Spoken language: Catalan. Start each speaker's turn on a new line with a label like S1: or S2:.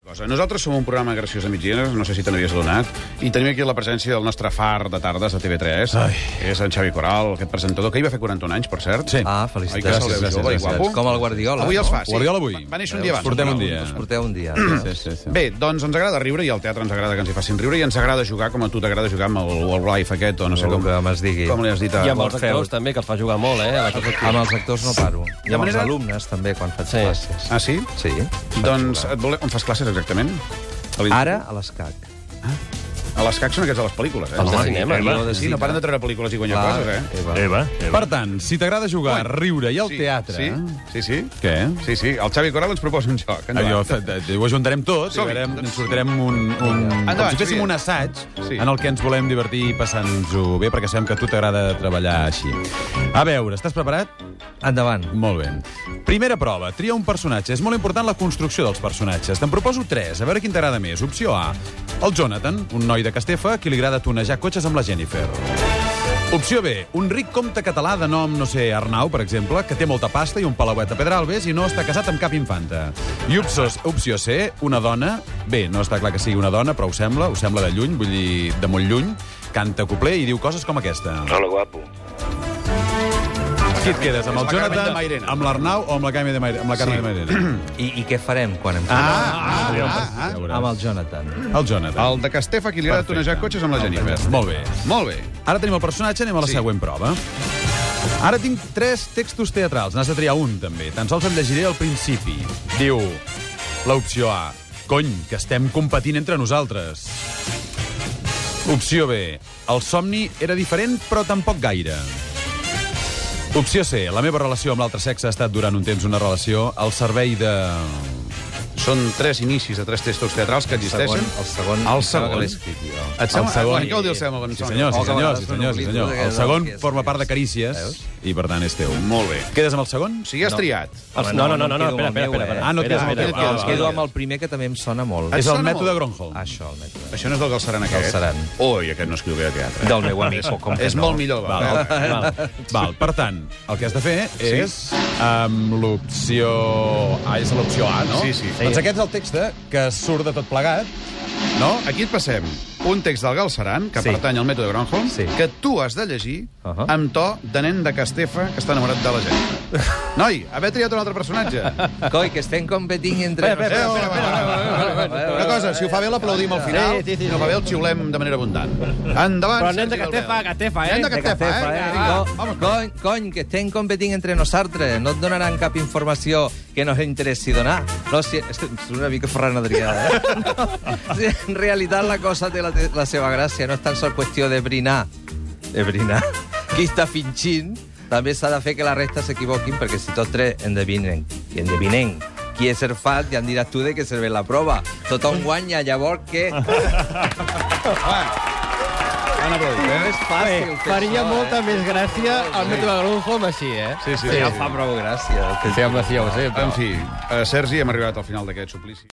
S1: cosa. Nosaltres som un programa graciós a mitjanes, no sé si te n'havies adonat, i tenim aquí la presència del nostre far de tardes de TV3,
S2: Ai.
S1: és en Xavi Coral, aquest presentador, que hi va fer 41 anys, per cert.
S2: Sí.
S3: Ah, felicitats.
S1: Oi que
S2: Gràcies,
S1: gràcies,
S2: gràcies,
S1: jove, i
S2: gràcies.
S1: guapo.
S3: Com el Guardiola,
S1: Avui
S3: no?
S1: els fa, sí.
S2: Guardiola avui.
S1: Va, va néixer un dia
S2: Us
S1: abans.
S2: portem un
S1: no?
S2: dia.
S3: Us porteu un dia.
S2: Sí, sí, sí.
S1: Bé, doncs ens agrada riure i al teatre ens agrada que ens hi facin riure i ens agrada jugar com a tu t'agrada jugar amb el Wildlife aquest o no sé
S3: Com
S1: com,
S3: que me'ls digui.
S1: com li has dit a...
S4: I amb els
S3: Molt
S4: actors,
S3: feu.
S4: també, que els fa jugar molt, eh? a l'equip.
S3: Amb els actors no paro. I amb els
S1: manera-
S3: alumnes, també, quan faig
S4: Sí.
S3: classes.
S1: Ah, sí?
S3: Sí.
S1: Doncs et vole... on fas classes exactament? A l'in-
S3: Ara, a l'escac.
S1: A les CAC són aquests de les pel·lícules, eh?
S4: Els de
S1: Home,
S4: cinema,
S1: eh,
S4: no?
S1: no? Sí, no paren de treure pel·lícules i guanyar
S3: Clar,
S1: coses, eh?
S3: Eva.
S5: Eva, Eva.
S2: Per tant, si t'agrada jugar, riure i al teatre...
S1: Sí, sí, sí.
S2: Què?
S1: Sí, sí. El Xavi Coral ens proposa un joc.
S2: Allò,
S1: Endavant.
S2: fa- de- de- ho ajuntarem tot i
S1: Som-hi.
S2: verem, ens sortirem un... un com
S1: Endavant,
S2: si féssim
S1: Xavier.
S2: un assaig
S1: Sí.
S2: en el que ens volem divertir i passant-nos-ho bé, perquè sabem que a tu t'agrada treballar així. A veure, estàs preparat?
S3: Endavant.
S2: Molt bé. Primera prova, tria un personatge. És molt important la construcció dels personatges. Te'n proposo tres, a veure quin t'agrada més. Opció A, el Jonathan, un noi de Castefa, qui li agrada tonejar cotxes amb la Jennifer. Opció B, un ric comte català de nom, no sé, Arnau, per exemple, que té molta pasta i un palauet a Pedralbes i no està casat amb cap infanta. I opció, opció C, una dona... Bé, no està clar que sigui una dona, però ho sembla, ho sembla de lluny, vull dir, de molt lluny, canta copler i diu coses com aquesta.
S6: Hola, guapo.
S2: Qui et quedes, amb
S1: És la
S2: el
S1: Carmen de
S2: Jonathan,
S1: Mairena.
S2: amb l'Arnau o amb la Carme de Mairena? Amb la Carme sí. de Mairena.
S3: I, I què farem quan em
S2: Ah, ah,
S3: quedem?
S2: ah,
S3: Amb el Jonathan.
S2: El Jonathan.
S1: El de Castefa, qui li agrada
S2: Perfecte.
S1: tonejar cotxes amb la Jennifer.
S2: Molt bé.
S1: Molt bé.
S2: Ara tenim el personatge, anem a la
S1: Sí.
S2: següent prova. Ara tinc tres textos teatrals, n'has de triar un, també. Tan sols em llegiré al principi. Diu l'opció A. Cony, que estem competint entre nosaltres. Opció B. El somni era diferent, però tampoc gaire. Opció C. La meva relació amb l'altre sexe ha estat durant un temps una relació al servei de...
S1: Són tres inicis de tres textos teatrals que existeixen.
S3: El segon,
S1: El
S3: el segon.
S1: segon.
S3: l'he escrit jo.
S1: Et sembla...
S2: El segon.
S1: Què vol dir el segon?
S2: Sí, senyor, sí,
S3: O que a
S2: senyor,
S3: vegades
S2: sí,
S3: fan
S2: senyor, sí,
S3: un
S2: senyor.
S3: clip
S2: El
S3: de-
S2: segon
S3: que és-
S2: forma part de Carícies
S3: Veus?
S2: i, per tant, és teu.
S1: Molt bé.
S2: Quedes amb el segon?
S1: O sigui, has triat.
S4: Els- No, no, no, no, no,
S3: em quedo amb el
S4: espera, espera, espera.
S3: meu, eh?
S4: espera.
S2: Ah, no et quedes
S4: Espera,
S2: amb el
S4: espera,
S2: teu.
S1: espera,
S3: Em
S2: Ah,
S3: quedo
S2: va,
S3: amb el primer, que també em sona molt.
S2: va. És el
S1: sona
S2: mètode
S1: molt.
S2: Gronholm.
S3: Això, el mètode.
S1: Això no és del Galceran, aquest.
S3: Galceran.
S1: Ui, aquest no escriu bé a teatre. eh?
S3: Del meu amic, o com que
S1: És
S3: no.
S1: molt millor.
S2: Val,
S1: Val.
S2: val, val. val. Per tant, el que has de fer és amb l'opció... Ah, és l'opció A, no?
S1: Sí, sí.
S2: Doncs aquest és el text que surt de tot plegat, no?
S1: Aquí et passem un text del Galceran, que
S3: Sí.
S1: pertany al mètode Gronholm,
S3: Sí.
S1: que tu has de llegir
S2: Uh
S3: Ahà.
S1: amb to de nen de Castefa que està enamorat de la gent. Noi, haver triat un altre personatge.
S3: Coi, que estem competint entre...
S1: Eh, espera, espera, espera,
S3: espera.
S1: Una cosa, si ho fa bé l'aplaudim al final,
S4: Sí, sí, sí,
S1: si no fa bé el xiulem de manera abundant. Endavant,
S4: Però nen de
S1: Sergi Dalbert.
S4: Catefa, Catefa, eh?
S1: Nen de Catefa, eh? Vinga,
S3: Cony,
S1: vamos.
S3: cony, cony, que estem competint entre nosaltres. No et donaran cap informació que no us interessi donar. No, si... és una mica Ferran Adrià, eh? No. Si en realitat la cosa té la, te- la seva gràcia. No és tan sols qüestió de brinar. De brinar. Qui està fingint també s'ha de fer que la resta s'equivoquin perquè si tots tres endevinen, i endevinen qui és el fat, ja em diràs tu de què serveix la prova. Tothom guanya, llavors què?
S1: Van aplaudir, eh?
S3: No és fàcil.
S4: Bé,
S3: fer
S4: faria
S3: això,
S4: molta
S3: eh?
S4: més gràcia el mètode de Gronholm així, eh?
S1: Sí, sí,
S4: Sí,
S1: sí.
S4: em fa prou gràcia.
S3: Gràcies.
S4: Sí, home, sí, ja ho sé, però...
S1: En fi, eh, Sergi, hem arribat al final d'aquest suplici.